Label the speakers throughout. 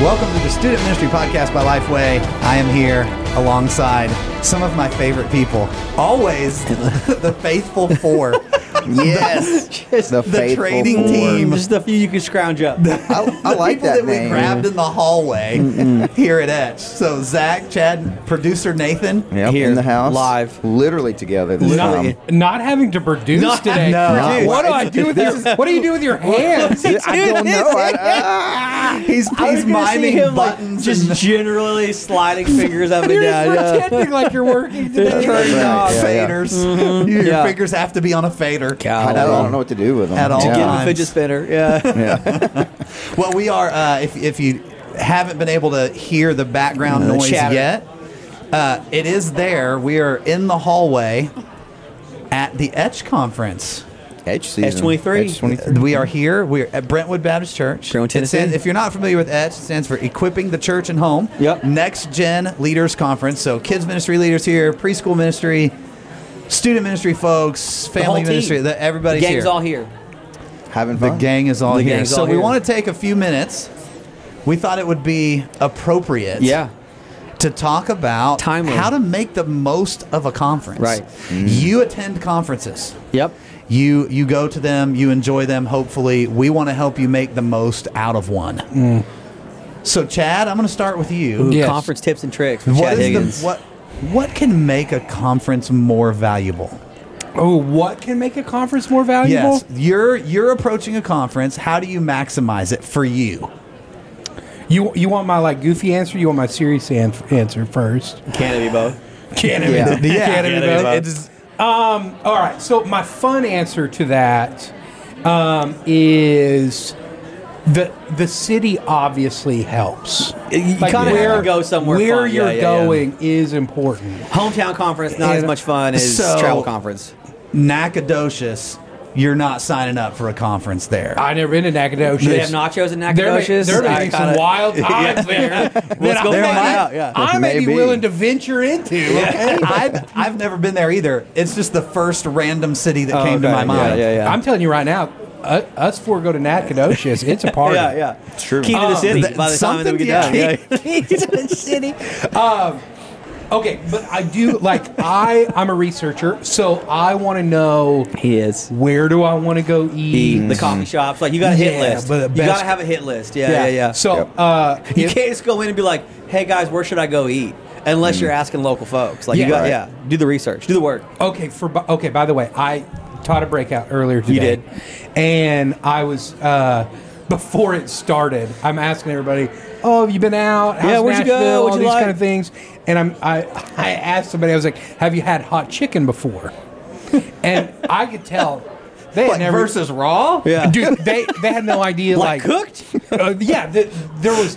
Speaker 1: Welcome to the Student Ministry Podcast by Lifeway. I am here alongside some of my favorite people. Always the faithful four.
Speaker 2: Yes,
Speaker 1: the
Speaker 2: faithful
Speaker 1: trading
Speaker 2: four.
Speaker 1: team.
Speaker 3: Just a few you can scrounge up.
Speaker 2: I, I like
Speaker 1: people
Speaker 2: that,
Speaker 1: that, we
Speaker 2: name.
Speaker 1: grabbed in the hallway here at Etch. So Zach, Chad, producer Nathan.
Speaker 2: Yep,
Speaker 3: Here,
Speaker 2: in the house,
Speaker 3: live.
Speaker 2: literally together. This
Speaker 4: Not,
Speaker 2: time.
Speaker 4: not having to produce
Speaker 3: Not-
Speaker 4: today.
Speaker 3: no.
Speaker 1: Not-
Speaker 4: what do I do with your, What do you do with your hands?
Speaker 2: I don't know. I,
Speaker 1: He's,
Speaker 3: I was
Speaker 1: he's
Speaker 3: gonna see
Speaker 1: miming
Speaker 3: him like
Speaker 1: buttons.
Speaker 3: just
Speaker 1: and-
Speaker 3: generally sliding fingers up and
Speaker 4: You're
Speaker 3: down.
Speaker 4: just
Speaker 3: Yeah.
Speaker 4: pretending like you're working
Speaker 3: Just
Speaker 4: today.
Speaker 3: turn-
Speaker 1: turning
Speaker 2: Right,
Speaker 1: off
Speaker 2: yeah, yeah.
Speaker 1: faders. Your
Speaker 3: Yeah. Mm-hmm.
Speaker 1: fingers have to be on a fader.
Speaker 2: I, don't, I don't know what to do with them
Speaker 1: At all.
Speaker 3: To get
Speaker 2: Yeah.
Speaker 3: a fidget spinner. Yeah.
Speaker 1: Well, we are. Uh, if if you haven't been able to hear the background
Speaker 3: No, the
Speaker 1: noise
Speaker 3: chatter.
Speaker 1: yet, uh, it is there. We are in the hallway at the Etch conference.
Speaker 2: Edge season.
Speaker 3: H23.
Speaker 2: Edge 23.
Speaker 1: We are here. We're at Brentwood Baptist Church. It
Speaker 3: Brentwood,
Speaker 1: stands-
Speaker 3: Tennessee.
Speaker 1: if you're not familiar with ETCH, it stands for Equipping the Church and Home.
Speaker 3: Yep.
Speaker 1: Next Gen Leaders Conference. So kids ministry leaders here, preschool ministry, student ministry folks,
Speaker 3: whole
Speaker 1: family
Speaker 3: team.
Speaker 1: ministry. The, everybody's
Speaker 3: Gang's
Speaker 1: here.
Speaker 3: all here.
Speaker 2: Having
Speaker 1: The
Speaker 2: fun.
Speaker 1: gang is all
Speaker 3: The
Speaker 1: here.
Speaker 3: gang's
Speaker 1: so
Speaker 3: all
Speaker 1: we
Speaker 3: here.
Speaker 1: want to take a few minutes. We thought it would be appropriate
Speaker 3: Yeah.
Speaker 1: to talk about
Speaker 3: Timely.
Speaker 1: how to make the most of a conference.
Speaker 3: Right. Mm-hmm.
Speaker 1: You attend conferences.
Speaker 3: Yep.
Speaker 1: You you go to them, you enjoy them, hopefully. We want to help you make the most out of one.
Speaker 3: Mm.
Speaker 1: So Chad, I'm going to start with you.
Speaker 4: Yes.
Speaker 3: Conference tips and tricks. From
Speaker 1: What
Speaker 3: Chad Higgins.
Speaker 1: is the what what can make a conference more valuable?
Speaker 4: Oh, what can make a conference more valuable?
Speaker 1: Yes, you're you're approaching a conference. How do you maximize it for you?
Speaker 4: You you want my like goofy answer? You want my serious an- answer first?
Speaker 3: Can it be both?
Speaker 4: Can it?
Speaker 2: Yeah.
Speaker 4: be-
Speaker 1: Yeah.
Speaker 4: Can
Speaker 3: Can it
Speaker 4: it be
Speaker 3: be
Speaker 4: both?
Speaker 3: both?
Speaker 4: It is- um. All right. So my fun answer to that um, is the the city obviously helps.
Speaker 3: You kind of have to go somewhere.
Speaker 4: Where
Speaker 3: fun. Yeah,
Speaker 4: you're
Speaker 3: yeah, yeah.
Speaker 4: going is important.
Speaker 3: Hometown conference not as
Speaker 4: And-
Speaker 3: much fun as
Speaker 1: So-
Speaker 3: travel conference.
Speaker 1: Nacogdoches, you're not signing up for a conference there.
Speaker 4: I never been to Nacogdoches.
Speaker 3: Do they have nachos in
Speaker 4: There may,
Speaker 3: Nacogdoches?
Speaker 4: there may
Speaker 3: I
Speaker 4: be some
Speaker 3: kinda-
Speaker 4: wild odds there. that
Speaker 3: Let's go
Speaker 4: I
Speaker 3: find
Speaker 4: may-
Speaker 3: out, yeah.
Speaker 4: I may
Speaker 2: Maybe.
Speaker 4: be willing to venture into. Okay?
Speaker 1: I've, I've never been there either. It's just the first random city that came to
Speaker 3: okay.
Speaker 1: my mind.
Speaker 3: Yeah, yeah, yeah.
Speaker 4: I'm telling you right now, uh, us four go to Nacogdoches. It's a party.
Speaker 3: Yeah, yeah.
Speaker 2: True.
Speaker 3: Key to the
Speaker 4: Um,
Speaker 3: city
Speaker 1: th-
Speaker 3: by the time that
Speaker 1: something-
Speaker 3: we get done.
Speaker 1: yeah.
Speaker 3: Yeah. Key to the city.
Speaker 4: Okay, but I do like I. I'm a researcher, so I want to know
Speaker 3: He is.
Speaker 4: where do I want to go eat.
Speaker 3: the, the coffee shops. Like you got a hit
Speaker 4: Yeah,
Speaker 3: list.
Speaker 4: but the
Speaker 3: you
Speaker 4: best-
Speaker 3: got to have a hit list. Yeah, yeah, yeah.
Speaker 4: So
Speaker 2: Yep.
Speaker 4: uh,
Speaker 3: you
Speaker 4: if-
Speaker 3: can't just go in and be like, "Hey guys, where should I go eat?" Unless you're asking local folks. Like
Speaker 4: Yeah.
Speaker 3: you got,
Speaker 2: Right.
Speaker 3: yeah. Do the research. Do the work.
Speaker 4: Okay, for bu- okay. By the way, I taught a breakout earlier today.
Speaker 3: did.
Speaker 4: and I was uh, before it started. I'm asking everybody, "Oh, have you been out? How's
Speaker 3: Yeah, where'd you go?
Speaker 4: Nashville?"
Speaker 3: What'd
Speaker 4: All
Speaker 3: you
Speaker 4: these
Speaker 3: like?
Speaker 4: kind of things. And I'm I I asked somebody. I was like, "Have you had hot chicken before?" and I could tell they had
Speaker 1: Like
Speaker 4: never.
Speaker 1: versus raw?
Speaker 3: Yeah.
Speaker 4: Dude, they, they had no idea
Speaker 3: Like
Speaker 4: like,
Speaker 3: cooked?
Speaker 4: Uh, yeah, the, there was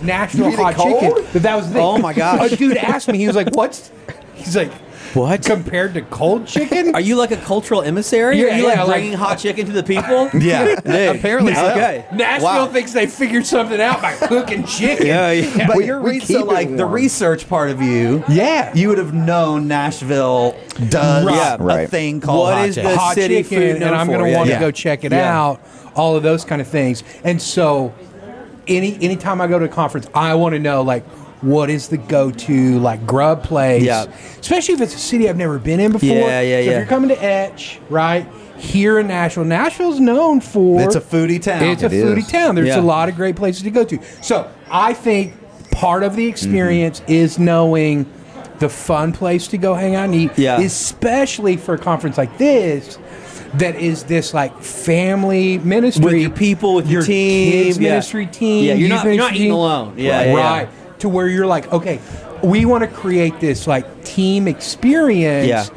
Speaker 1: You
Speaker 4: Nashville
Speaker 1: mean
Speaker 4: hot
Speaker 1: it cold?
Speaker 4: chicken. That, that was the thing.
Speaker 3: Oh, my gosh.
Speaker 4: A dude asked me. He was like, "What's?" He's like,
Speaker 3: What?
Speaker 4: compared to cold chicken?"
Speaker 3: Are you like a cultural emissary?
Speaker 4: Yeah,
Speaker 3: Are you like
Speaker 4: yeah, like-
Speaker 3: bringing hot chicken to the people?
Speaker 1: Yeah.
Speaker 3: Dude.
Speaker 1: Apparently so.
Speaker 3: Okay.
Speaker 4: Nashville
Speaker 2: Wow.
Speaker 4: thinks they figured something out by cooking chicken.
Speaker 3: Yeah, yeah.
Speaker 1: But
Speaker 2: We-
Speaker 1: you're
Speaker 2: we
Speaker 1: re-
Speaker 2: keep
Speaker 1: so
Speaker 2: it
Speaker 1: like the
Speaker 2: warm.
Speaker 1: research part of you.
Speaker 4: Yeah.
Speaker 1: You would have known Nashville does
Speaker 4: Right. Yeah.
Speaker 1: a
Speaker 2: Right.
Speaker 1: thing called hot
Speaker 3: What is
Speaker 1: chicken.
Speaker 3: the
Speaker 4: hot
Speaker 3: city
Speaker 4: chicken,
Speaker 3: food known
Speaker 4: and I'm
Speaker 3: for,
Speaker 4: going to
Speaker 3: yeah.
Speaker 4: want to
Speaker 1: Yeah.
Speaker 4: go check it
Speaker 3: Yeah.
Speaker 4: out. All of those kind of things, and so any anytime I go to a conference, I want to know like what is the go to like grub place,
Speaker 3: Yeah.
Speaker 4: especially if it's a city I've never been in before.
Speaker 3: Yeah, yeah,
Speaker 4: so
Speaker 3: yeah.
Speaker 4: If you're coming to Etch, right here in Nashville, Nashville's known for
Speaker 1: It's a foodie town.
Speaker 4: It's a
Speaker 2: It
Speaker 4: foodie
Speaker 2: is.
Speaker 4: town. There's
Speaker 3: Yeah.
Speaker 4: a lot of great places to go to. So I think part of the experience is knowing the fun place to go hang out and eat.
Speaker 3: Yeah.
Speaker 4: Especially for a conference like this, that is this like family ministry
Speaker 3: With your people, with your team,
Speaker 4: kids
Speaker 3: yeah.
Speaker 4: ministry team.
Speaker 3: Yeah, you're
Speaker 4: youth
Speaker 3: not- you're not
Speaker 4: ministry
Speaker 3: eating
Speaker 4: team.
Speaker 3: alone. Yeah,
Speaker 4: right.
Speaker 3: yeah, yeah.
Speaker 4: right. To where you're like, okay, we want to create this like team experience.
Speaker 3: Yeah.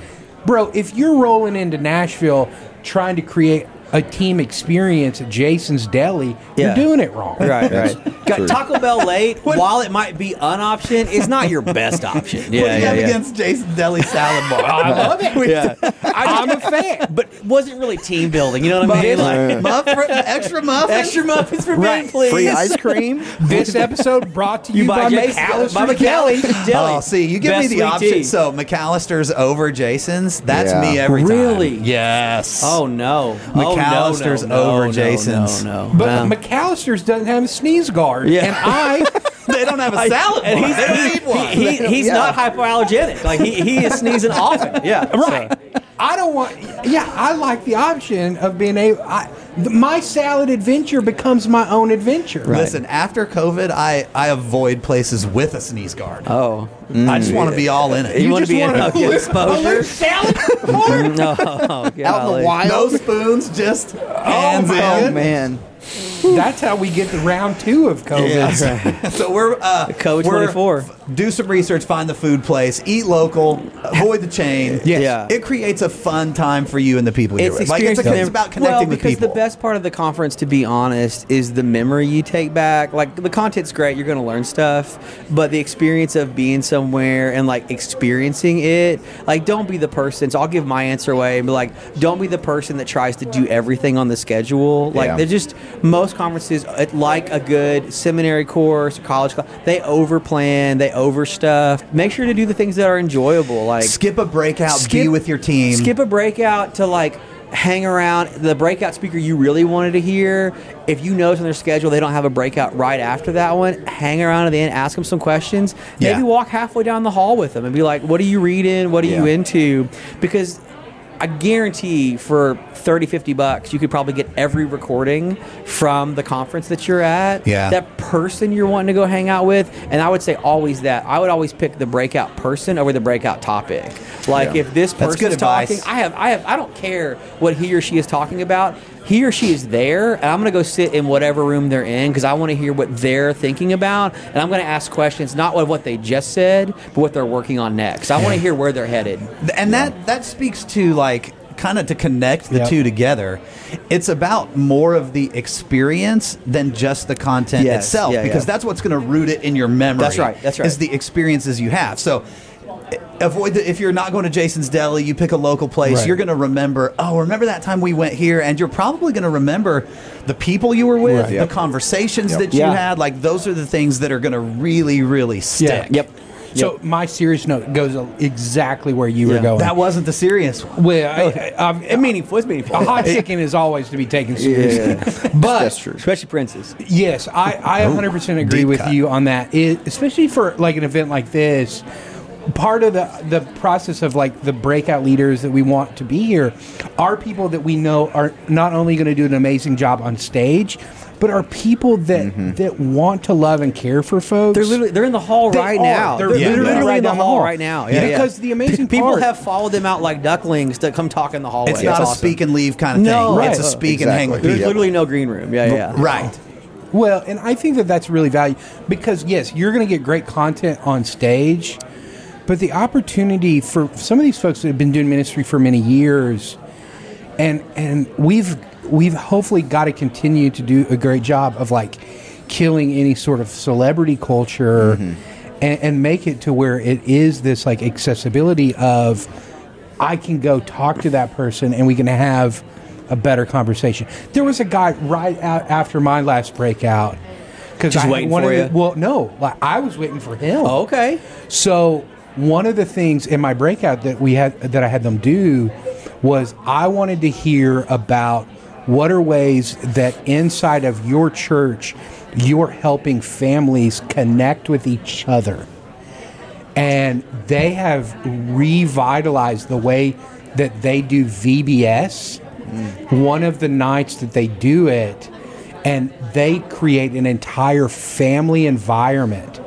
Speaker 4: Bro, if you're rolling into Nashville trying to create a team experience at Jason's Deli,
Speaker 3: Yeah.
Speaker 4: you're doing it wrong.
Speaker 3: Right, right. Got
Speaker 2: True.
Speaker 3: Taco Bell late. while it might be an option, it's not your best option. Yeah,
Speaker 1: what do you
Speaker 3: yeah,
Speaker 1: have
Speaker 3: yeah.
Speaker 1: against Jason Deli Salad Bar?
Speaker 4: I love it.
Speaker 3: Yeah.
Speaker 4: I'm a fan.
Speaker 3: but it wasn't really team building. You know what I mean? Like,
Speaker 1: Muffin, extra muffin?
Speaker 3: extra muffins for me,
Speaker 4: Right.
Speaker 3: please.
Speaker 2: Free ice cream.
Speaker 4: This episode brought to you,
Speaker 3: You buy
Speaker 4: by
Speaker 3: Jason- by
Speaker 4: McAllister's Deli.
Speaker 3: McAllister's Deli.
Speaker 1: Oh, see, you give
Speaker 3: Best
Speaker 1: me the
Speaker 3: sweet
Speaker 1: option.
Speaker 3: tea.
Speaker 1: So McAllister's over Jason's. That's
Speaker 2: Yeah.
Speaker 1: me every time.
Speaker 3: Really?
Speaker 1: Yes.
Speaker 3: Oh no, Oh,
Speaker 1: McAllister's
Speaker 3: no, no,
Speaker 1: over
Speaker 3: no,
Speaker 1: Jason's.
Speaker 3: No, no,
Speaker 4: But
Speaker 3: no.
Speaker 4: McAllister's doesn't have a sneeze guard.
Speaker 3: Yeah.
Speaker 4: And I,
Speaker 1: They don't have a
Speaker 3: I-
Speaker 1: salad
Speaker 3: and
Speaker 1: bar.
Speaker 3: he's-
Speaker 1: They don't need one.
Speaker 3: He, he's
Speaker 2: Yeah.
Speaker 3: not hypoallergenic. Like he, he is sneezing often. Yeah,
Speaker 4: right. I don't want, yeah, I like the option of being able, I, th- my salad adventure becomes my own adventure.
Speaker 1: Listen, after COVID, I, I avoid places with a sneeze guard.
Speaker 3: Oh,
Speaker 1: I just want to be all in it.
Speaker 3: You wanna
Speaker 1: just
Speaker 3: be in
Speaker 1: wanna-
Speaker 3: a good exposure? Oh,
Speaker 4: salad bar?
Speaker 3: no. Out
Speaker 2: Out in the wild.
Speaker 1: No spoons, just hands
Speaker 2: Oh,
Speaker 1: in.
Speaker 2: man.
Speaker 4: That's how we get to round two of COVID.
Speaker 1: So we're uh,
Speaker 3: Code
Speaker 1: we're-
Speaker 3: 24.
Speaker 1: f- Do some research, find the food place, eat local, avoid the chain.
Speaker 4: Yes.
Speaker 3: Yeah.
Speaker 1: it creates a fun time for you and the people you're
Speaker 3: It's
Speaker 1: with. Like it's,
Speaker 3: experience-
Speaker 1: a, it's about connecting
Speaker 3: well,
Speaker 1: with
Speaker 3: because
Speaker 1: people.
Speaker 3: the best part of the conference, to be honest, is the memory you take back. Like the content's great, you're going to learn stuff, but the experience of being somewhere and like experiencing it, like don't be the person. So I'll give my answer away and be like, don't be the person that tries to do everything on the schedule. Like
Speaker 2: Yeah.
Speaker 3: they're just most conferences, uh, like a good seminary course, college, cl- they overplan, they overstuff. Make sure to do the things that are enjoyable. Like
Speaker 1: skip a breakout, be with your team.
Speaker 3: Skip a breakout to like hang around the breakout speaker you really wanted to hear. If you notice on their schedule they don't have a breakout right after that one, hang around at the end, ask them some questions. Maybe
Speaker 1: Yeah.
Speaker 3: walk halfway down the hall with them and be like, "What are you reading? What are you
Speaker 2: Yeah.
Speaker 3: into?" Because I guarantee for 30, 50 bucks, you could probably get every recording from the conference that you're at.
Speaker 1: Yeah.
Speaker 3: That person you're wanting to go hang out with. And I would say always that. I would always pick the breakout person over the breakout topic. Like
Speaker 2: Yeah.
Speaker 3: if this
Speaker 1: That's
Speaker 3: person's
Speaker 1: good
Speaker 3: talking,
Speaker 1: advice.
Speaker 3: I have I have I don't care what he or she is talking about. He or she is there, and I'm going to go sit in whatever room they're in because I want to hear what they're thinking about, and I'm going to ask questions not of what they just said, but what they're working on next. I want to hear where they're headed.
Speaker 1: and that that speaks to like kind of to connect the
Speaker 4: Yep.
Speaker 1: two together it's about more of the experience than just the content
Speaker 3: Yes,
Speaker 1: itself
Speaker 3: yeah,
Speaker 1: because
Speaker 3: yeah.
Speaker 1: that's what's going to root it in your memory
Speaker 3: That's right, that's right.
Speaker 1: is the experiences you have so eh, avoid the, if you're not going to jason's deli you pick a local place
Speaker 4: Right.
Speaker 1: you're going to remember oh remember that time we went here and you're probably going to remember the people you were with
Speaker 4: Right.
Speaker 1: the
Speaker 2: Yep.
Speaker 1: conversations
Speaker 2: Yep.
Speaker 1: that you
Speaker 3: Yeah.
Speaker 1: had like those are the things that are going to really really stick
Speaker 3: Yep.
Speaker 4: So my serious note goes exactly where you were
Speaker 3: Yeah. Oh.
Speaker 4: going.
Speaker 1: that wasn't the serious one
Speaker 4: well, I, I, I, I mean,
Speaker 3: meaningful. It's meaningful.
Speaker 4: a hot chicken is always to be taken seriously.
Speaker 2: That's
Speaker 4: But
Speaker 2: true.
Speaker 3: Especially princes.
Speaker 4: yes, I, I 100% agree
Speaker 1: deep
Speaker 4: with
Speaker 1: cut.
Speaker 4: you on that. It, especially for like an event like this, part of the the process of like the breakout leaders that we want to be here are people that we know are not only going to do an amazing job on stage, but are people that that want to love and care for folks.
Speaker 3: They're literally they're in the hall
Speaker 4: They
Speaker 3: right
Speaker 4: are.
Speaker 3: now.
Speaker 4: They're
Speaker 3: They're,
Speaker 1: Yeah.
Speaker 3: literally,
Speaker 4: right
Speaker 3: in the
Speaker 4: down the
Speaker 3: hall
Speaker 4: hall.
Speaker 3: right now. Yeah,
Speaker 4: Because
Speaker 3: yeah.
Speaker 4: the amazing
Speaker 3: people
Speaker 4: part-
Speaker 3: have followed them out like ducklings to come talk in the hallway.
Speaker 1: It's not a
Speaker 3: awesome.
Speaker 1: speak and leave kind of thing.
Speaker 3: No.
Speaker 1: It's a
Speaker 3: Right.
Speaker 1: speak and hang with
Speaker 2: Exactly.
Speaker 3: There's
Speaker 1: people.
Speaker 3: literally no green room. Yeah, yeah.
Speaker 1: Right.
Speaker 4: Well, and I think that that's really valuable because yes, you're going to get great content on stage, but the opportunity for some of these folks that have been doing ministry for many years, and and we've we've hopefully got to continue to do a great job of like killing any sort of celebrity culture, and, and make it to where it is this like accessibility of I can go talk to that person and we can have a better conversation. There was a guy right out after my last breakout. Because
Speaker 3: Just waiting for ya?
Speaker 4: well, no, like I was waiting for him.
Speaker 3: Okay.
Speaker 4: So one of the things in my breakout that we had that I had them do was I wanted to hear about what are ways that inside of your church you're helping families connect with each other. And they have revitalized the way that they do VBS. One of the nights that they do it, and they create an entire family environment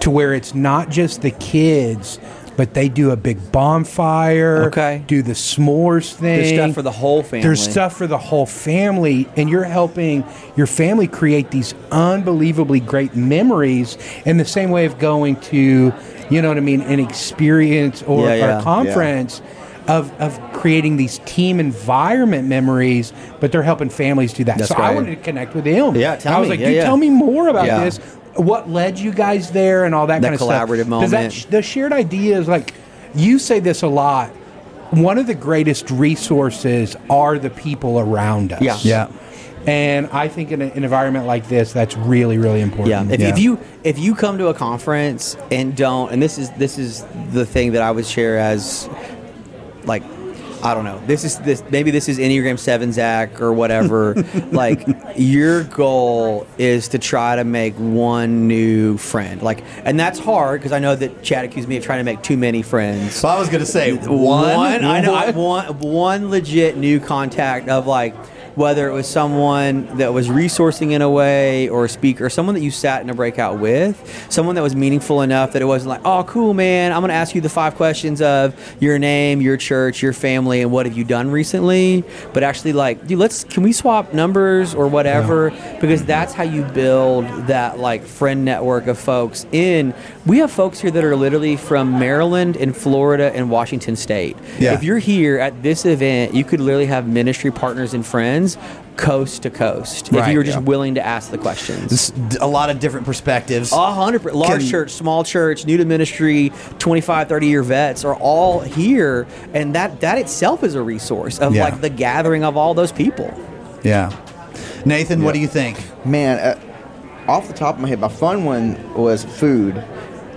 Speaker 4: to where it's not just the kids, but they do a big bonfire,
Speaker 3: Okay.
Speaker 4: do the s'mores thing.
Speaker 3: There's stuff for the whole family.
Speaker 4: There's stuff for the whole family, and you're helping your family create these unbelievably great memories in the same way of going to, you know what I mean, an experience or,
Speaker 3: Yeah,
Speaker 4: or
Speaker 3: yeah.
Speaker 4: a conference. Of, of creating these team environment memories, but they're helping families do that.
Speaker 3: That's
Speaker 4: so I
Speaker 3: right.
Speaker 4: wanted to connect with him.
Speaker 3: Yeah, tell
Speaker 4: I was
Speaker 3: me.
Speaker 4: like,
Speaker 3: Yeah,
Speaker 4: "Dude,
Speaker 3: yeah.
Speaker 4: tell me more about
Speaker 3: Yeah.
Speaker 4: this. What led you guys there, and all that,
Speaker 3: That
Speaker 4: kind of stuff."
Speaker 3: collaborative
Speaker 4: Does that
Speaker 3: moment.
Speaker 4: sh- the shared idea is like you say this a lot one of the greatest resources are the people around us
Speaker 3: Yeah.
Speaker 1: Yeah.
Speaker 4: and i think in a- an environment like this that's really really
Speaker 3: Yeah.
Speaker 4: important
Speaker 3: If,
Speaker 1: Yeah.
Speaker 3: if you if you come to a conference and don't, and this is this is the thing that I would share as like I don't know. This is this maybe this is Enneagram Seven Zach or whatever. like your goal is to try to make one new friend. Like, and that's hard because I know that Chad accused me of trying to make too many friends.
Speaker 1: So I was gonna say one.
Speaker 3: I know. I one one legit new contact of like whether it was someone that was resourcing in a way or a speaker, someone that you sat in a breakout with, someone that was meaningful enough that it wasn't like, oh, cool, man, I'm going to ask you the five questions of your name, your church, your family, and what have you done recently. But actually, like, dude, let's, can we swap numbers or whatever? Because that's how you build that, like, friend network of folks in. We have folks here that are literally from Maryland and Florida and Washington State.
Speaker 1: Yeah.
Speaker 3: If you're here at this event, you could literally have ministry partners and friends coast to coast if
Speaker 1: Right,
Speaker 3: you were just
Speaker 1: yeah.
Speaker 3: willing to ask the questions.
Speaker 1: It's d- a lot of different perspectives.
Speaker 3: A hundred per- large
Speaker 1: Can-
Speaker 3: church, small church, new to ministry, 25, 30 year vets are all here, and that that itself is a resource of
Speaker 1: Yeah.
Speaker 3: like the gathering of all those people.
Speaker 1: yeah. Nathan, what do you think?
Speaker 2: Man, uh, off the top of my head, my fun one was food.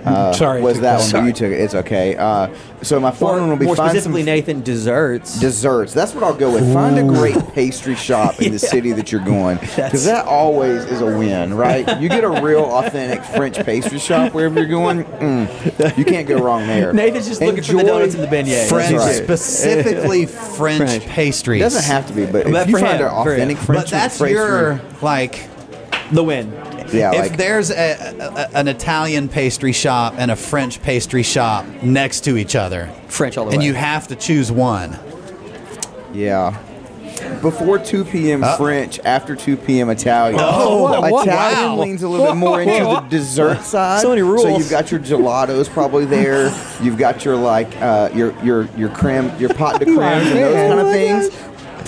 Speaker 2: Uh,
Speaker 4: Sorry, I
Speaker 2: was
Speaker 4: took
Speaker 2: that
Speaker 4: that.
Speaker 2: one? But
Speaker 3: Sorry.
Speaker 2: you took it. It's okay. Uh, so my fun
Speaker 3: Or
Speaker 2: one will be
Speaker 3: more
Speaker 2: find
Speaker 3: specifically,
Speaker 2: some
Speaker 3: Nathan desserts.
Speaker 2: desserts. That's what I'll go with. Find a great pastry shop in the city that you're going, because that always is a win, right? You get a real authentic French pastry shop wherever you're going. mm, you can't go wrong there.
Speaker 3: Nathan's just looking for the
Speaker 2: Enjoy-
Speaker 3: donuts and the beignets.
Speaker 1: French,
Speaker 2: right.
Speaker 1: specifically French,
Speaker 3: French.
Speaker 1: pastries.
Speaker 2: It doesn't have to be, but
Speaker 3: But
Speaker 2: if
Speaker 3: for
Speaker 2: you find
Speaker 3: him,
Speaker 2: an
Speaker 3: for him.
Speaker 2: authentic French
Speaker 1: But that's
Speaker 2: pastry,
Speaker 1: your like.
Speaker 3: The win.
Speaker 2: yeah,
Speaker 1: if
Speaker 2: like,
Speaker 1: there's a, a, an Italian pastry shop and a French pastry shop next to each other,
Speaker 3: French all the
Speaker 1: and
Speaker 3: way.
Speaker 1: you have to choose one.
Speaker 2: Yeah. Before 2 p.m.
Speaker 3: Uh.
Speaker 2: French, after 2 p.m. Italian.
Speaker 1: Oh,
Speaker 4: whoa,
Speaker 2: Italian
Speaker 1: wow.
Speaker 2: leans a little bit more into the dessert side.
Speaker 3: So many rules.
Speaker 2: you've got your gelatos probably there. You've got your like uh, your your your creme, your pot de creme, and those kind of things.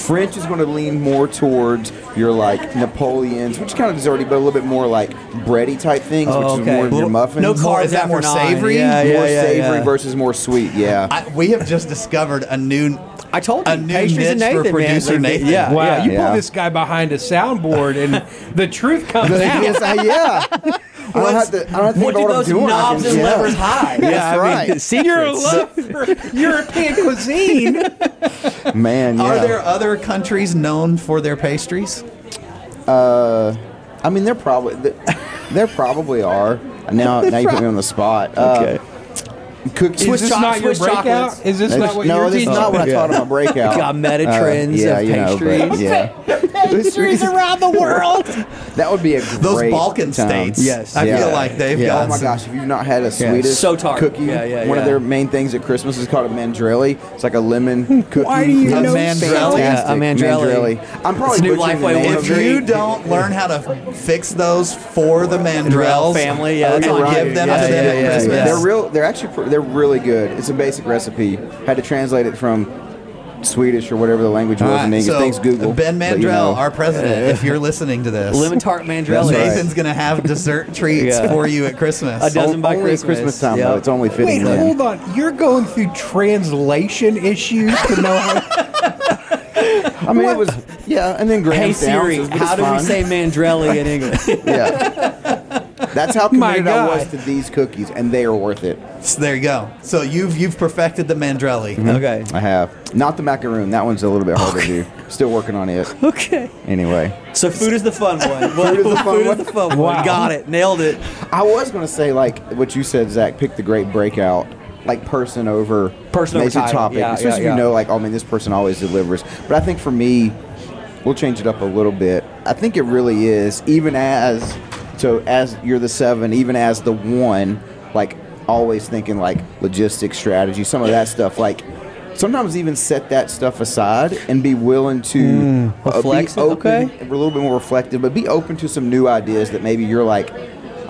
Speaker 2: French is going to lean more towards your like Napoleons, which is kind of desserty, but a little bit more like bready type things,
Speaker 3: Oh,
Speaker 2: which
Speaker 3: okay.
Speaker 2: is more of your
Speaker 3: Little-
Speaker 2: muffins.
Speaker 3: no
Speaker 1: More- is
Speaker 3: carbs
Speaker 1: that
Speaker 3: after
Speaker 1: more
Speaker 3: nine.
Speaker 1: savory?
Speaker 3: Yeah, yeah,
Speaker 2: more
Speaker 3: yeah,
Speaker 2: savory
Speaker 3: yeah.
Speaker 2: versus more sweet. Yeah.
Speaker 1: I, we have just discovered a new.
Speaker 3: I told you,
Speaker 1: a new
Speaker 3: pastries and
Speaker 1: niche
Speaker 3: Nathan,
Speaker 1: for
Speaker 3: man.
Speaker 1: producer
Speaker 3: Like,
Speaker 1: Nathan.
Speaker 3: yeah.
Speaker 4: Wow, you
Speaker 2: Yeah.
Speaker 4: pull this guy behind a soundboard and the truth comes
Speaker 2: The
Speaker 4: out.
Speaker 2: thing is, I- yeah. I don't have to. I don't have to think
Speaker 3: What
Speaker 2: about
Speaker 3: do
Speaker 2: what I'm
Speaker 3: those
Speaker 2: doing. I
Speaker 3: knobs
Speaker 2: can-
Speaker 3: and
Speaker 2: yeah.
Speaker 3: levers hide?
Speaker 2: That's right.
Speaker 4: You're a
Speaker 3: secrets.
Speaker 4: love for European cuisine.
Speaker 2: Man, yeah.
Speaker 1: Are there other countries known for their pastries?
Speaker 2: I mean, there probably th- there probably are. Now, now you put me on the spot. Uh, Okay. Cookies.
Speaker 4: Is this
Speaker 3: choc-
Speaker 4: not your
Speaker 3: Swiss
Speaker 4: breakout?
Speaker 3: chocolates.
Speaker 4: Is this
Speaker 2: That's-
Speaker 4: not what
Speaker 2: no,
Speaker 4: you're
Speaker 2: this is
Speaker 4: teaching?
Speaker 2: not what I taught on my breakout. Uh,
Speaker 3: Got meta trends
Speaker 2: yeah,
Speaker 3: of
Speaker 2: you know, but,
Speaker 3: pastries.
Speaker 2: yeah.
Speaker 3: Pastries around the world.
Speaker 2: That would be a great
Speaker 1: Those Balkan
Speaker 2: time.
Speaker 1: states.
Speaker 3: Yes.
Speaker 1: I
Speaker 2: Yeah.
Speaker 1: feel like they've
Speaker 3: Yeah.
Speaker 1: got.
Speaker 2: Oh my
Speaker 1: some-
Speaker 2: gosh, if you've not had a Swedish
Speaker 3: So tart.
Speaker 2: cookie,
Speaker 3: Yeah, yeah,
Speaker 2: one of
Speaker 3: yeah.
Speaker 2: their main things at Christmas is called a mandrelli. It's like a lemon cookie.
Speaker 4: Why do you
Speaker 2: It's
Speaker 1: know so?
Speaker 2: fantastic.
Speaker 3: Yeah, a mandrelli.
Speaker 2: I'm
Speaker 3: It's
Speaker 2: probably
Speaker 3: a new
Speaker 2: butchering the
Speaker 3: Lifeway
Speaker 2: name
Speaker 3: one
Speaker 2: of
Speaker 1: If
Speaker 2: it.
Speaker 1: you don't learn how to fix those for the Mandrells
Speaker 3: family,
Speaker 1: and
Speaker 3: yeah, that's
Speaker 1: give
Speaker 3: on
Speaker 1: them
Speaker 3: you. Yeah,
Speaker 1: to them
Speaker 3: yeah,
Speaker 1: at
Speaker 3: yeah,
Speaker 1: Christmas,
Speaker 3: yeah.
Speaker 2: They're real. They're actually pr- they're really good. It's a basic recipe. Had to translate it from Swedish or whatever the language was
Speaker 1: All right,
Speaker 2: in English.
Speaker 1: so
Speaker 2: Thanks Google.
Speaker 1: Ben
Speaker 2: But,
Speaker 1: Mandrell,
Speaker 2: you know.
Speaker 1: our president, if you're listening to this,
Speaker 3: Lemon tart mandrelli.
Speaker 2: That's
Speaker 1: Nathan's gonna have dessert treats
Speaker 3: Yeah.
Speaker 1: for you at Christmas.
Speaker 3: A dozen
Speaker 2: On-
Speaker 3: by
Speaker 2: only at
Speaker 3: Christmas.
Speaker 2: Christmas time
Speaker 3: Yep.
Speaker 2: though. It's only
Speaker 4: Wait,
Speaker 2: fitting. then.
Speaker 4: hold on. You're going through translation issues to know how.
Speaker 2: I mean, it was yeah. And then Graham
Speaker 3: Hey Siri,
Speaker 2: Downs,
Speaker 3: how do we say mandrelli in English?
Speaker 2: Yeah. That's how
Speaker 4: My
Speaker 2: committed I was
Speaker 4: God.
Speaker 2: to these cookies, and they are worth it.
Speaker 1: So there you go. So you've you've perfected the mandrelli.
Speaker 3: okay.
Speaker 2: I have not the macaroon. That one's a little bit harder to do. Still working on it.
Speaker 3: Okay.
Speaker 2: Anyway,
Speaker 3: So food is the fun one. Well,
Speaker 2: Food is the fun
Speaker 3: food
Speaker 2: one.
Speaker 3: is the fun one.
Speaker 4: Wow.
Speaker 3: Got it. Nailed it.
Speaker 2: I was gonna say like what you said, Zach. Pick the great breakout, like person over
Speaker 3: Person over
Speaker 2: major
Speaker 3: title.
Speaker 2: topic,
Speaker 3: Yeah,
Speaker 2: especially
Speaker 3: yeah,
Speaker 2: if
Speaker 3: yeah.
Speaker 2: you know like, oh man, this person always delivers. But I think for me, we'll change it up a little bit. I think it really is even as so as you're the seven, even as the one, like always thinking like logistics, strategy, some of that stuff, like. Sometimes even set that stuff aside and be willing to uh, be
Speaker 3: Mm. Reflex it,
Speaker 2: open
Speaker 3: okay.
Speaker 2: a little bit more reflective, but be open to some new ideas that maybe you're like,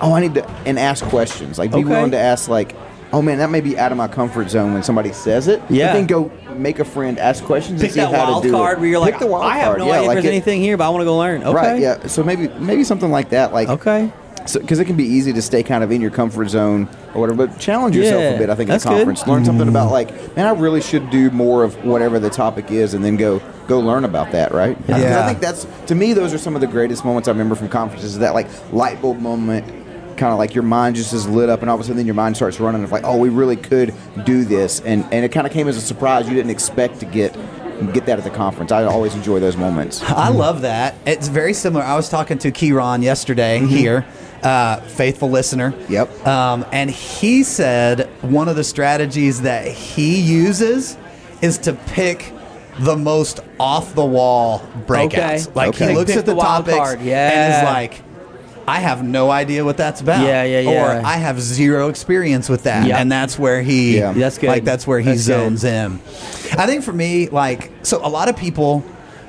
Speaker 2: oh, I need to, and ask questions. Like, be
Speaker 3: Okay.
Speaker 2: willing to ask, like, oh man, that may be out of my comfort zone when somebody says it. But
Speaker 3: Yeah.
Speaker 2: then go make a friend, ask questions,
Speaker 3: Pick
Speaker 2: and see
Speaker 3: that
Speaker 2: how
Speaker 3: wild
Speaker 2: to do
Speaker 3: card
Speaker 2: it.
Speaker 3: where you're
Speaker 2: Pick
Speaker 3: like,
Speaker 2: the wild
Speaker 3: I have
Speaker 2: card,
Speaker 3: no
Speaker 2: yeah,
Speaker 3: idea
Speaker 2: like
Speaker 3: if there's
Speaker 2: it-
Speaker 3: anything here, but I want to go learn. Okay.
Speaker 2: Right. Yeah. So maybe maybe something like that. Like
Speaker 3: Okay.
Speaker 2: So because it can be easy to stay kind of in your comfort zone or whatever, but challenge yourself
Speaker 3: Yeah,
Speaker 2: a bit. I think
Speaker 3: that's
Speaker 2: at
Speaker 3: good.
Speaker 2: a conference, learn something about like, man, I really should do more of whatever the topic is, and then go go learn about that. Right? 'Cause
Speaker 1: Yeah.
Speaker 2: I think that's to me, those are some of the greatest moments I remember from conferences. That like light bulb moment. kind of like your mind just is lit up, and all of a sudden then your mind starts running of like, oh, we really could do this, and and it kind of came as a surprise. You didn't expect to get get that at the conference. I always enjoy those moments.
Speaker 1: I love that. It's very similar. I was talking to Kieran
Speaker 3: Mm-hmm.
Speaker 1: yesterday here, uh, faithful listener.
Speaker 2: Yep.
Speaker 1: Um, and he said one of the strategies that he uses is to pick the most off the wall breakouts.
Speaker 3: Okay.
Speaker 1: Like
Speaker 2: Okay.
Speaker 1: he looks
Speaker 3: Pick
Speaker 1: at the,
Speaker 3: the wild
Speaker 1: topics
Speaker 3: card.
Speaker 1: and
Speaker 3: Yeah.
Speaker 1: is like, I have no idea what that's about.
Speaker 3: Yeah, yeah,
Speaker 1: Or
Speaker 3: yeah.
Speaker 1: I have zero experience with that.
Speaker 3: Yep.
Speaker 1: And that's where he
Speaker 2: Yeah.
Speaker 3: That's good.
Speaker 1: Like that's where he
Speaker 3: That's good.
Speaker 1: zones in. I think for me, like so a lot of people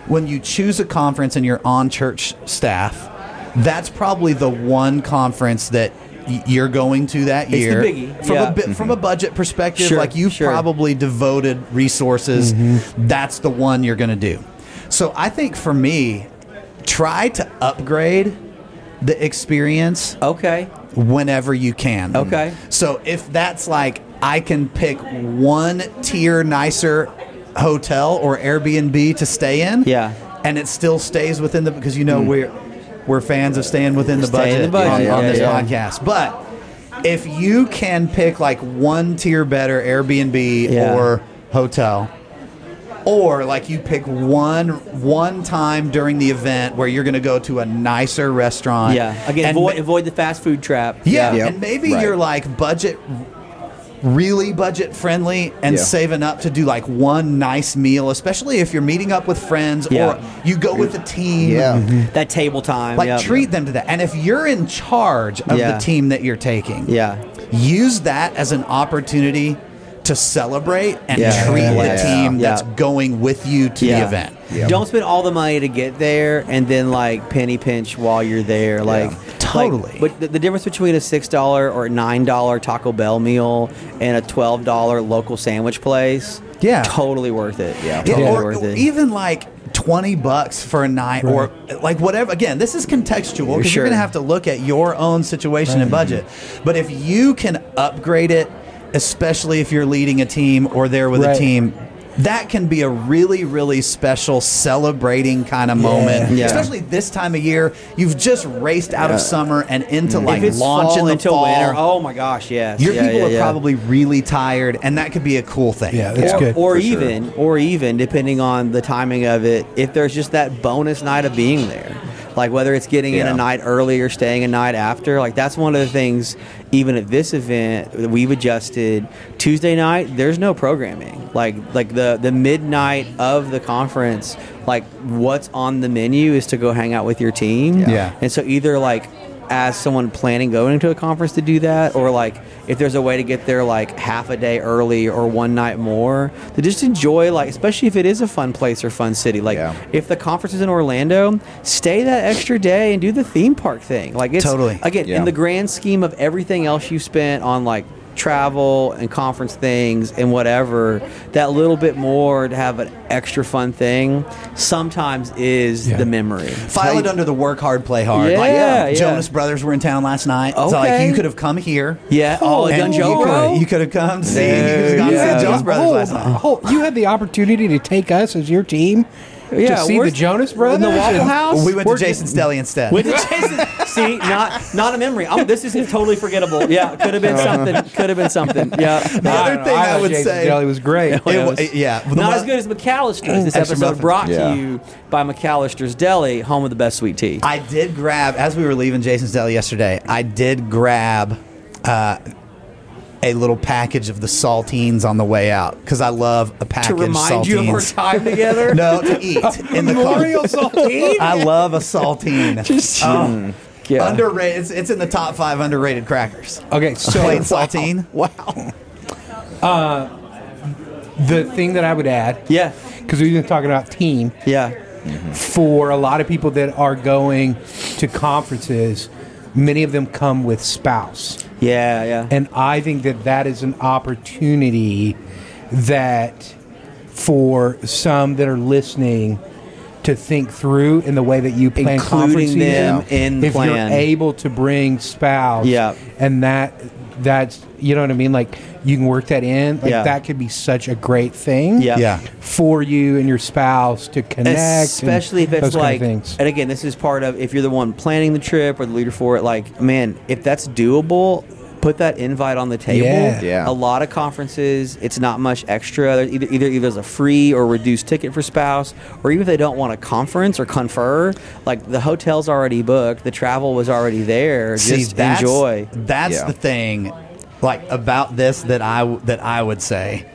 Speaker 1: when you choose a conference and you're on church staff, that's probably the one conference that y- you're going to that
Speaker 3: the
Speaker 1: year
Speaker 3: biggie,
Speaker 1: from
Speaker 3: yeah.
Speaker 1: a bit, from a budget perspective
Speaker 3: Sure,
Speaker 1: like you've
Speaker 3: sure. Mm-hmm.
Speaker 1: probably devoted resources that's the one you're going to do so i think for me try to upgrade the experience
Speaker 3: Okay.
Speaker 1: whenever you can.
Speaker 3: Okay.
Speaker 1: So if that's like I can pick one tier nicer hotel or Airbnb to stay in.
Speaker 3: Yeah.
Speaker 1: And it still stays within the because you know we're we're fans of staying within the
Speaker 3: Stay
Speaker 1: budget,
Speaker 3: in the budget,
Speaker 1: on, on
Speaker 3: yeah,
Speaker 1: this
Speaker 3: yeah.
Speaker 1: podcast. But if you can pick like one tier better Airbnb
Speaker 3: Yeah.
Speaker 1: or hotel or like you pick one one time during the event where you're going to go to a nicer restaurant
Speaker 3: Yeah. Again,
Speaker 1: and
Speaker 3: avoid,
Speaker 1: ma-
Speaker 3: avoid the fast food trap.
Speaker 1: yeah,
Speaker 2: Yeah.
Speaker 1: and maybe
Speaker 2: Right.
Speaker 1: you're like budget, really budget friendly, and
Speaker 2: Yeah.
Speaker 1: saving up to do like one nice meal, especially if you're meeting up with friends
Speaker 3: Yeah.
Speaker 1: or you go with the team.
Speaker 2: Yeah.
Speaker 3: That table time.
Speaker 1: Like
Speaker 3: yep.
Speaker 1: treat them to that. And if you're in charge of
Speaker 3: Yeah.
Speaker 1: the team that you're taking,
Speaker 3: Yeah.
Speaker 1: use that as an opportunity to celebrate and
Speaker 3: Yeah.
Speaker 1: treat
Speaker 2: Yeah.
Speaker 1: the team
Speaker 3: Yeah.
Speaker 1: that's going with you to the event.
Speaker 2: Yeah.
Speaker 3: Don't spend all the money to get there and then like penny pinch while you're there. Like
Speaker 1: Totally.
Speaker 3: like- but the, the difference between a six dollar or nine dollar Taco Bell meal and a twelve dollar local sandwich place,
Speaker 1: Yeah.
Speaker 3: totally worth it. Yeah,
Speaker 1: Yeah,
Speaker 3: totally
Speaker 1: or,
Speaker 3: worth
Speaker 1: or
Speaker 3: it.
Speaker 1: even like 20 bucks for a night or like whatever again this is contextual because
Speaker 3: Sure.
Speaker 1: you're gonna have to look at your own situation and budget but if you can upgrade it especially if you're leading a team or there with a
Speaker 4: Right.
Speaker 1: team that can be a really really special celebrating kind of moment
Speaker 3: Yeah.
Speaker 1: especially this time of year you've just raced out of summer and into like
Speaker 3: if it's
Speaker 1: launch
Speaker 3: fall
Speaker 1: in the
Speaker 3: into
Speaker 1: fall
Speaker 3: winter, oh my gosh, yes.
Speaker 1: your
Speaker 3: Mm-hmm. Yeah,
Speaker 1: people
Speaker 3: yeah,
Speaker 1: are
Speaker 3: yeah.
Speaker 1: probably really tired and that could be a cool thing
Speaker 4: Yeah, that's
Speaker 3: or,
Speaker 4: good.
Speaker 3: or
Speaker 2: for sure.
Speaker 3: even, or even, depending on the timing of it, if there's just that bonus night of being there, like whether it's getting in
Speaker 2: Yeah.
Speaker 3: a night early or staying a night after, like that's one of the things. Even at this event, that we've adjusted Tuesday night. There's no programming. Like like the the midnight of the conference, like what's on the menu is to go hang out with your team.
Speaker 1: Yeah.
Speaker 3: And so either like as someone planning going to a conference to do that or like if there's a way to get there like half a day early or one night more to just enjoy like especially if it is a fun place or fun city like
Speaker 2: Yeah.
Speaker 3: if the conference is in Orlando stay that extra day and do the theme park thing like it's
Speaker 1: Totally.
Speaker 3: again
Speaker 2: Yeah.
Speaker 3: in the grand scheme of everything else you've spent on like travel and conference things and whatever that little bit more to have an extra fun thing sometimes is
Speaker 4: Yeah.
Speaker 3: the memory
Speaker 1: File it under the work hard, play hard. like
Speaker 3: Yeah, yeah.
Speaker 1: Jonas Brothers were in town last night. So like
Speaker 3: Okay.
Speaker 1: you could have come here.
Speaker 3: Yeah, oh,
Speaker 1: and
Speaker 3: done
Speaker 1: you
Speaker 3: Joe, bro.
Speaker 1: could, you could have come see. you could
Speaker 3: Dude,
Speaker 1: have gone
Speaker 3: yeah.
Speaker 1: to see Jonas
Speaker 3: Yeah.
Speaker 1: Brothers
Speaker 4: Hold-
Speaker 1: last night.
Speaker 4: hold- Oh. you had the opportunity to take us as your team to see the
Speaker 3: where's-
Speaker 4: Jonas
Speaker 3: in
Speaker 4: Brothers
Speaker 3: the Waffle
Speaker 4: and-
Speaker 3: House.
Speaker 1: We went
Speaker 3: Where's-
Speaker 1: to Jason's Deli instead.
Speaker 3: Went to Jason. See, not not a memory. i this is totally forgettable. Yeah, could have been something. Could have been something. Yeah.
Speaker 1: The
Speaker 4: I
Speaker 1: other
Speaker 4: don't know,
Speaker 1: thing I
Speaker 4: thought
Speaker 1: would
Speaker 4: Jason
Speaker 1: say-
Speaker 4: Deli was great.
Speaker 1: It wa-
Speaker 3: Yes.
Speaker 1: it- yeah, the
Speaker 3: Not
Speaker 1: one-
Speaker 3: as good as McAllister's. This
Speaker 1: Extra
Speaker 3: episode
Speaker 1: muffin.
Speaker 3: brought
Speaker 2: Yeah.
Speaker 3: to you by McAllister's Deli, home of the best sweet tea.
Speaker 1: I did grab as we were leaving Jason's Deli yesterday. I did grab uh, a little package of the saltines on the way out because I love a
Speaker 3: to
Speaker 1: package
Speaker 3: remind
Speaker 1: saltines.
Speaker 3: you of our time together.
Speaker 1: no, to eat in the
Speaker 4: Memorial
Speaker 1: car.
Speaker 4: saltine.
Speaker 1: I love a saltine.
Speaker 3: Just-
Speaker 1: Oh.
Speaker 3: Yeah.
Speaker 1: Underrated. It's, it's in the top five underrated crackers.
Speaker 4: Okay, so
Speaker 1: Plain saltine.
Speaker 3: Wow.
Speaker 4: the thing that I would add,
Speaker 3: Yeah.
Speaker 4: because we've been talking about team,
Speaker 3: Yeah.
Speaker 4: for a lot of people that are going to conferences, many of them come with spouse.
Speaker 3: Yeah. Yeah.
Speaker 4: And I think that that is an opportunity that for some that are listening to think through in the way that you plan
Speaker 3: Including
Speaker 4: conference
Speaker 3: them
Speaker 4: season,
Speaker 3: in
Speaker 4: if
Speaker 3: plan.
Speaker 4: you're able to bring spouse
Speaker 3: Yeah.
Speaker 4: and that that's you know what I mean. Like you can work that in. Like
Speaker 3: Yeah.
Speaker 4: that could be such a great thing.
Speaker 3: Yeah.
Speaker 1: Yeah.
Speaker 4: For you and your spouse to connect, and
Speaker 3: especially if
Speaker 4: those
Speaker 3: it's like
Speaker 4: kind of things.
Speaker 3: and again this is part of if you're the one planning the trip or the leader for it like man if that's doable put that invite on the table
Speaker 4: Yeah.
Speaker 2: Yeah.
Speaker 3: a lot of conferences it's not much extra There's either either either as a free or reduced ticket for spouse or even if they don't want a conference or confer like the hotel's already booked the travel was already there just
Speaker 1: that's,
Speaker 3: enjoy
Speaker 1: That's
Speaker 2: Yeah.
Speaker 1: the thing, like about this that I w- that I would say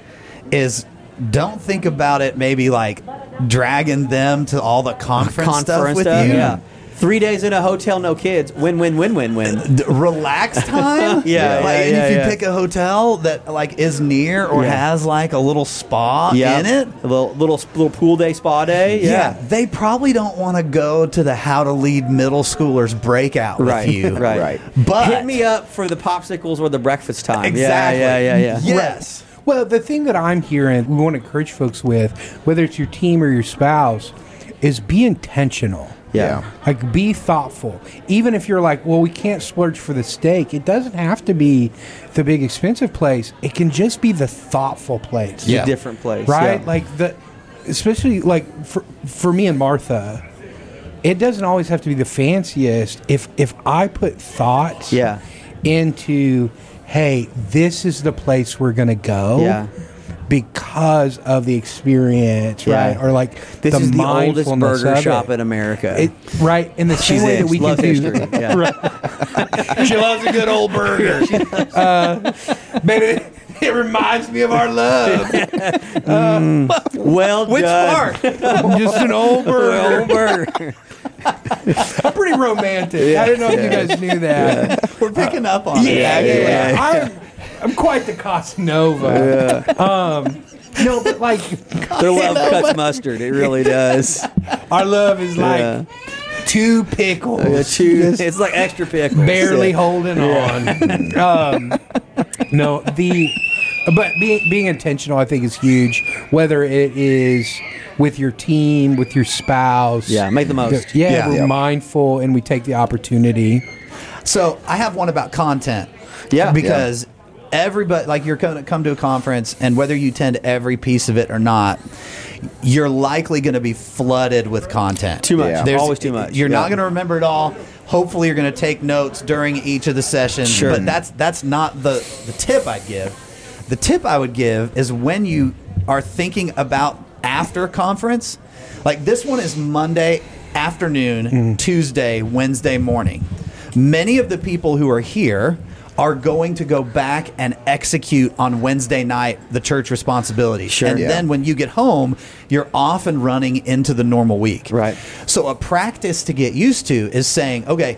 Speaker 1: is don't think about it. Maybe like dragging them to all the conference, stuff
Speaker 3: conference
Speaker 1: with
Speaker 3: stuff,
Speaker 1: you.
Speaker 3: yeah three days in a hotel no kids win win win win win
Speaker 1: D- relax time.
Speaker 3: Yeah,
Speaker 1: like
Speaker 3: yeah,
Speaker 1: and
Speaker 3: yeah,
Speaker 1: if you
Speaker 3: yeah.
Speaker 1: pick a hotel that like is near or
Speaker 3: Yeah.
Speaker 1: has like a little spa
Speaker 3: yeah
Speaker 1: in it.
Speaker 3: a little, little little pool day spa day
Speaker 1: Yeah. they probably don't want to go to the how to lead middle schoolers breakout with
Speaker 3: right,
Speaker 1: you.
Speaker 3: Right.
Speaker 2: Right.
Speaker 1: But-
Speaker 3: hit me up for the popsicles or the breakfast time.
Speaker 1: Exactly.
Speaker 3: Yeah, yeah, yeah. yeah.
Speaker 1: Yes.
Speaker 4: Well, the thing that I'm hearing we want to encourage folks with, whether it's your team or your spouse, is be intentional.
Speaker 3: Yeah.
Speaker 4: Like be thoughtful. Even if you're like, well, we can't splurge for the steak, it doesn't have to be the big expensive place. It can just be the thoughtful place.
Speaker 1: Yeah.
Speaker 3: It's a different place.
Speaker 4: Right?
Speaker 3: Yeah.
Speaker 4: Like the especially like for for me and Martha, it doesn't always have to be the fanciest. If if I put thoughts
Speaker 3: Yeah.
Speaker 4: into hey, this is the place we're gonna go
Speaker 3: Yeah.
Speaker 4: because of the experience,
Speaker 3: Yeah.
Speaker 4: right? Or like
Speaker 3: this
Speaker 4: the
Speaker 3: is the oldest
Speaker 4: mindfulness
Speaker 3: burger
Speaker 4: of
Speaker 3: shop
Speaker 4: it.
Speaker 3: in America.
Speaker 4: It- right, in the same
Speaker 3: She's
Speaker 4: way
Speaker 3: in.
Speaker 4: that we
Speaker 3: She loves
Speaker 4: can do,
Speaker 3: history. Yeah.
Speaker 1: She loves a good old burger.
Speaker 4: Uh, baby. It, it reminds me of our love.
Speaker 3: well
Speaker 1: Which
Speaker 3: done.
Speaker 1: part?
Speaker 4: Just an old
Speaker 3: Well,
Speaker 4: bird.
Speaker 3: burger.
Speaker 4: I'm pretty romantic. I don't know if you guys knew that.
Speaker 1: We're picking up on it.
Speaker 4: Yeah,
Speaker 1: actually.
Speaker 4: yeah, I'm, I'm quite the Casanova. Um, no, but like
Speaker 3: Their love cuts mustard. It really does.
Speaker 4: our love is like
Speaker 3: Yeah.
Speaker 4: two pickles,
Speaker 3: Yeah, chew-
Speaker 4: just
Speaker 3: it's like extra pickles.
Speaker 4: barely
Speaker 3: Yeah.
Speaker 4: holding on. um, no, the but being being intentional, I think, is huge. Whether it is with your team, with your spouse,
Speaker 3: Yeah, make the most.
Speaker 4: Yeah,
Speaker 1: Yeah.
Speaker 4: we're
Speaker 1: Yeah.
Speaker 4: mindful and we take the opportunity.
Speaker 1: So I have one about content.
Speaker 3: Yeah.
Speaker 1: Because everybody, like you're going to come to a conference, and whether you tend to every piece of it or not, you're likely going to be flooded with content.
Speaker 3: Too much.
Speaker 2: Yeah.
Speaker 3: Always too much.
Speaker 1: You're
Speaker 3: Yeah.
Speaker 1: not going to remember it all. Hopefully, you're going to take notes during each of the sessions.
Speaker 3: Sure.
Speaker 1: But that's that's not the the tip I'd give. The tip I would give is when you are thinking about after conference, like this one is Monday afternoon,
Speaker 3: Mm.
Speaker 1: Tuesday, Wednesday morning. Many of the people who are here are going to go back and execute on Wednesday night the church responsibility.
Speaker 3: Sure.
Speaker 1: And
Speaker 2: Yeah.
Speaker 1: then when you get home, you're off and running into the normal week.
Speaker 3: Right.
Speaker 1: So a practice to get used to is saying, okay,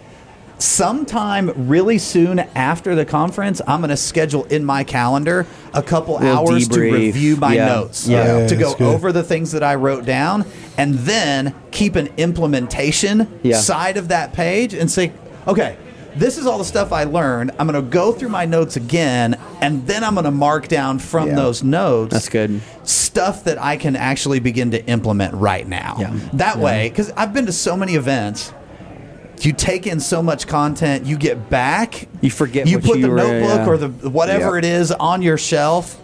Speaker 1: sometime really soon after the conference, I'm going to schedule in my calendar a couple
Speaker 3: Little
Speaker 1: hours to
Speaker 3: debrief.
Speaker 1: review my
Speaker 3: Yeah.
Speaker 1: notes,
Speaker 3: Yeah.
Speaker 4: Yeah,
Speaker 1: to go
Speaker 4: that's good.
Speaker 1: over the things that I wrote down, and then keep an implementation
Speaker 3: Yeah.
Speaker 1: side of that page and say, okay. This is all the stuff I learned. I'm going to go through my notes again, and then I'm going to mark down from
Speaker 2: Yeah.
Speaker 1: those notes
Speaker 3: That's good.
Speaker 1: stuff that I can actually begin to implement right now.
Speaker 3: Yeah.
Speaker 1: That way, because I've been to so many events, you take in so much content, you get back,
Speaker 3: You forget
Speaker 1: you
Speaker 3: what
Speaker 1: put
Speaker 3: you
Speaker 1: the
Speaker 3: were-
Speaker 1: notebook
Speaker 3: yeah.
Speaker 1: or the whatever
Speaker 2: Yep.
Speaker 1: it is on your shelf,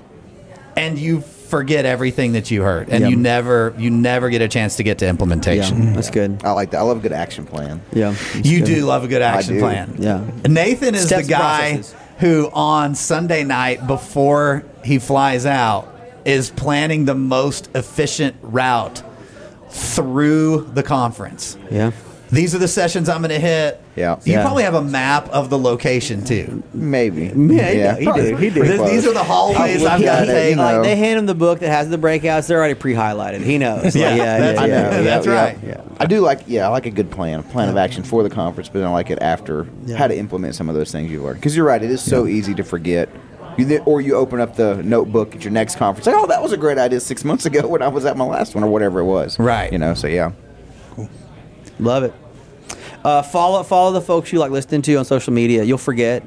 Speaker 1: and you forget everything that you heard, and
Speaker 3: Yep.
Speaker 1: you never you never get a chance to get to
Speaker 3: Yeah,
Speaker 1: implementation.
Speaker 3: that's good.
Speaker 2: I like that. I love a good action plan.
Speaker 3: Yeah, that's
Speaker 1: You
Speaker 3: good.
Speaker 1: do love a good action
Speaker 2: do.
Speaker 1: plan.
Speaker 3: Yeah.
Speaker 1: Nathan is
Speaker 3: Steps
Speaker 1: the guy
Speaker 3: processes.
Speaker 1: who on Sunday night before he flies out is planning the most efficient route through the conference.
Speaker 3: Yeah,
Speaker 1: These are the sessions I'm going to hit.
Speaker 2: Yeah.
Speaker 1: You
Speaker 3: Yeah.
Speaker 1: probably have a map of the location too.
Speaker 2: Maybe.
Speaker 3: he did- he did- he did.
Speaker 2: pretty
Speaker 1: These-
Speaker 2: close.
Speaker 1: these are the hallways I've
Speaker 2: I'm looking
Speaker 1: got
Speaker 2: at
Speaker 1: to
Speaker 2: it,
Speaker 1: take.
Speaker 2: you know.
Speaker 3: like they hand him the book that has the breakouts. They're already pre-highlighted. He knows. Like,
Speaker 1: Yeah,
Speaker 3: yeah,
Speaker 1: that's-
Speaker 3: yeah,
Speaker 2: I
Speaker 3: yeah,
Speaker 2: know.
Speaker 1: That's
Speaker 2: yeah,
Speaker 1: right.
Speaker 2: Yeah. I do like, yeah, I like a good plan, a plan of action for the conference, but then I like it after how to implement some of those things you've learned. Because you're right, it is so easy to forget. You th- or you open up the notebook at your next conference, like, oh, that was a great idea six months ago when I was at my last one or whatever it was.
Speaker 1: Right.
Speaker 2: You know, so yeah.
Speaker 3: Love it. Uh, follow follow the folks you like listening to on social media. You'll forget.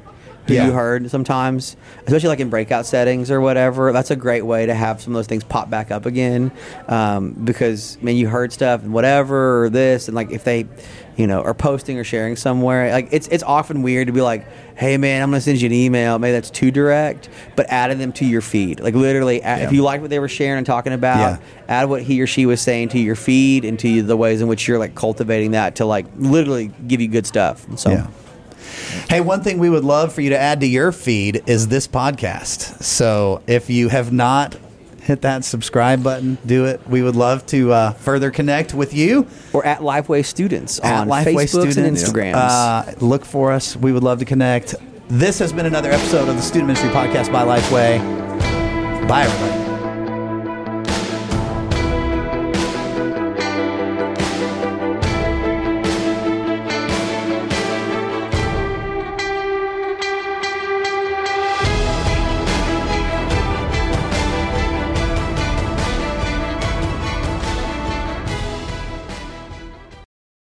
Speaker 3: who
Speaker 1: Yeah.
Speaker 3: you heard sometimes, especially like in breakout settings or whatever. That's a great way to have some of those things pop back up again um, because, man, you heard stuff and whatever or this. And like if they, you know, are posting or sharing somewhere, like it's, it's often weird to be like, hey, man, I'm going to send you an email. Maybe that's too direct, but adding them to your feed. Like literally, a- if
Speaker 1: Yeah.
Speaker 3: you like what they were sharing and talking about,
Speaker 1: Yeah.
Speaker 3: add what he or she was saying to your feed and to the ways in which you're like cultivating that to like literally give you good stuff. So.
Speaker 1: Yeah. Hey, one thing we would love for you to add to your feed is this podcast. So if you have not hit that subscribe button, do it. We would love to uh, further connect with you
Speaker 3: or at Lifeway Students on
Speaker 1: Lifeway
Speaker 3: Facebooks and
Speaker 1: Students.
Speaker 3: Instagrams.
Speaker 1: Uh, look for us. We would love to connect. This has been another episode of the Student Ministry Podcast by Lifeway. Bye, everybody.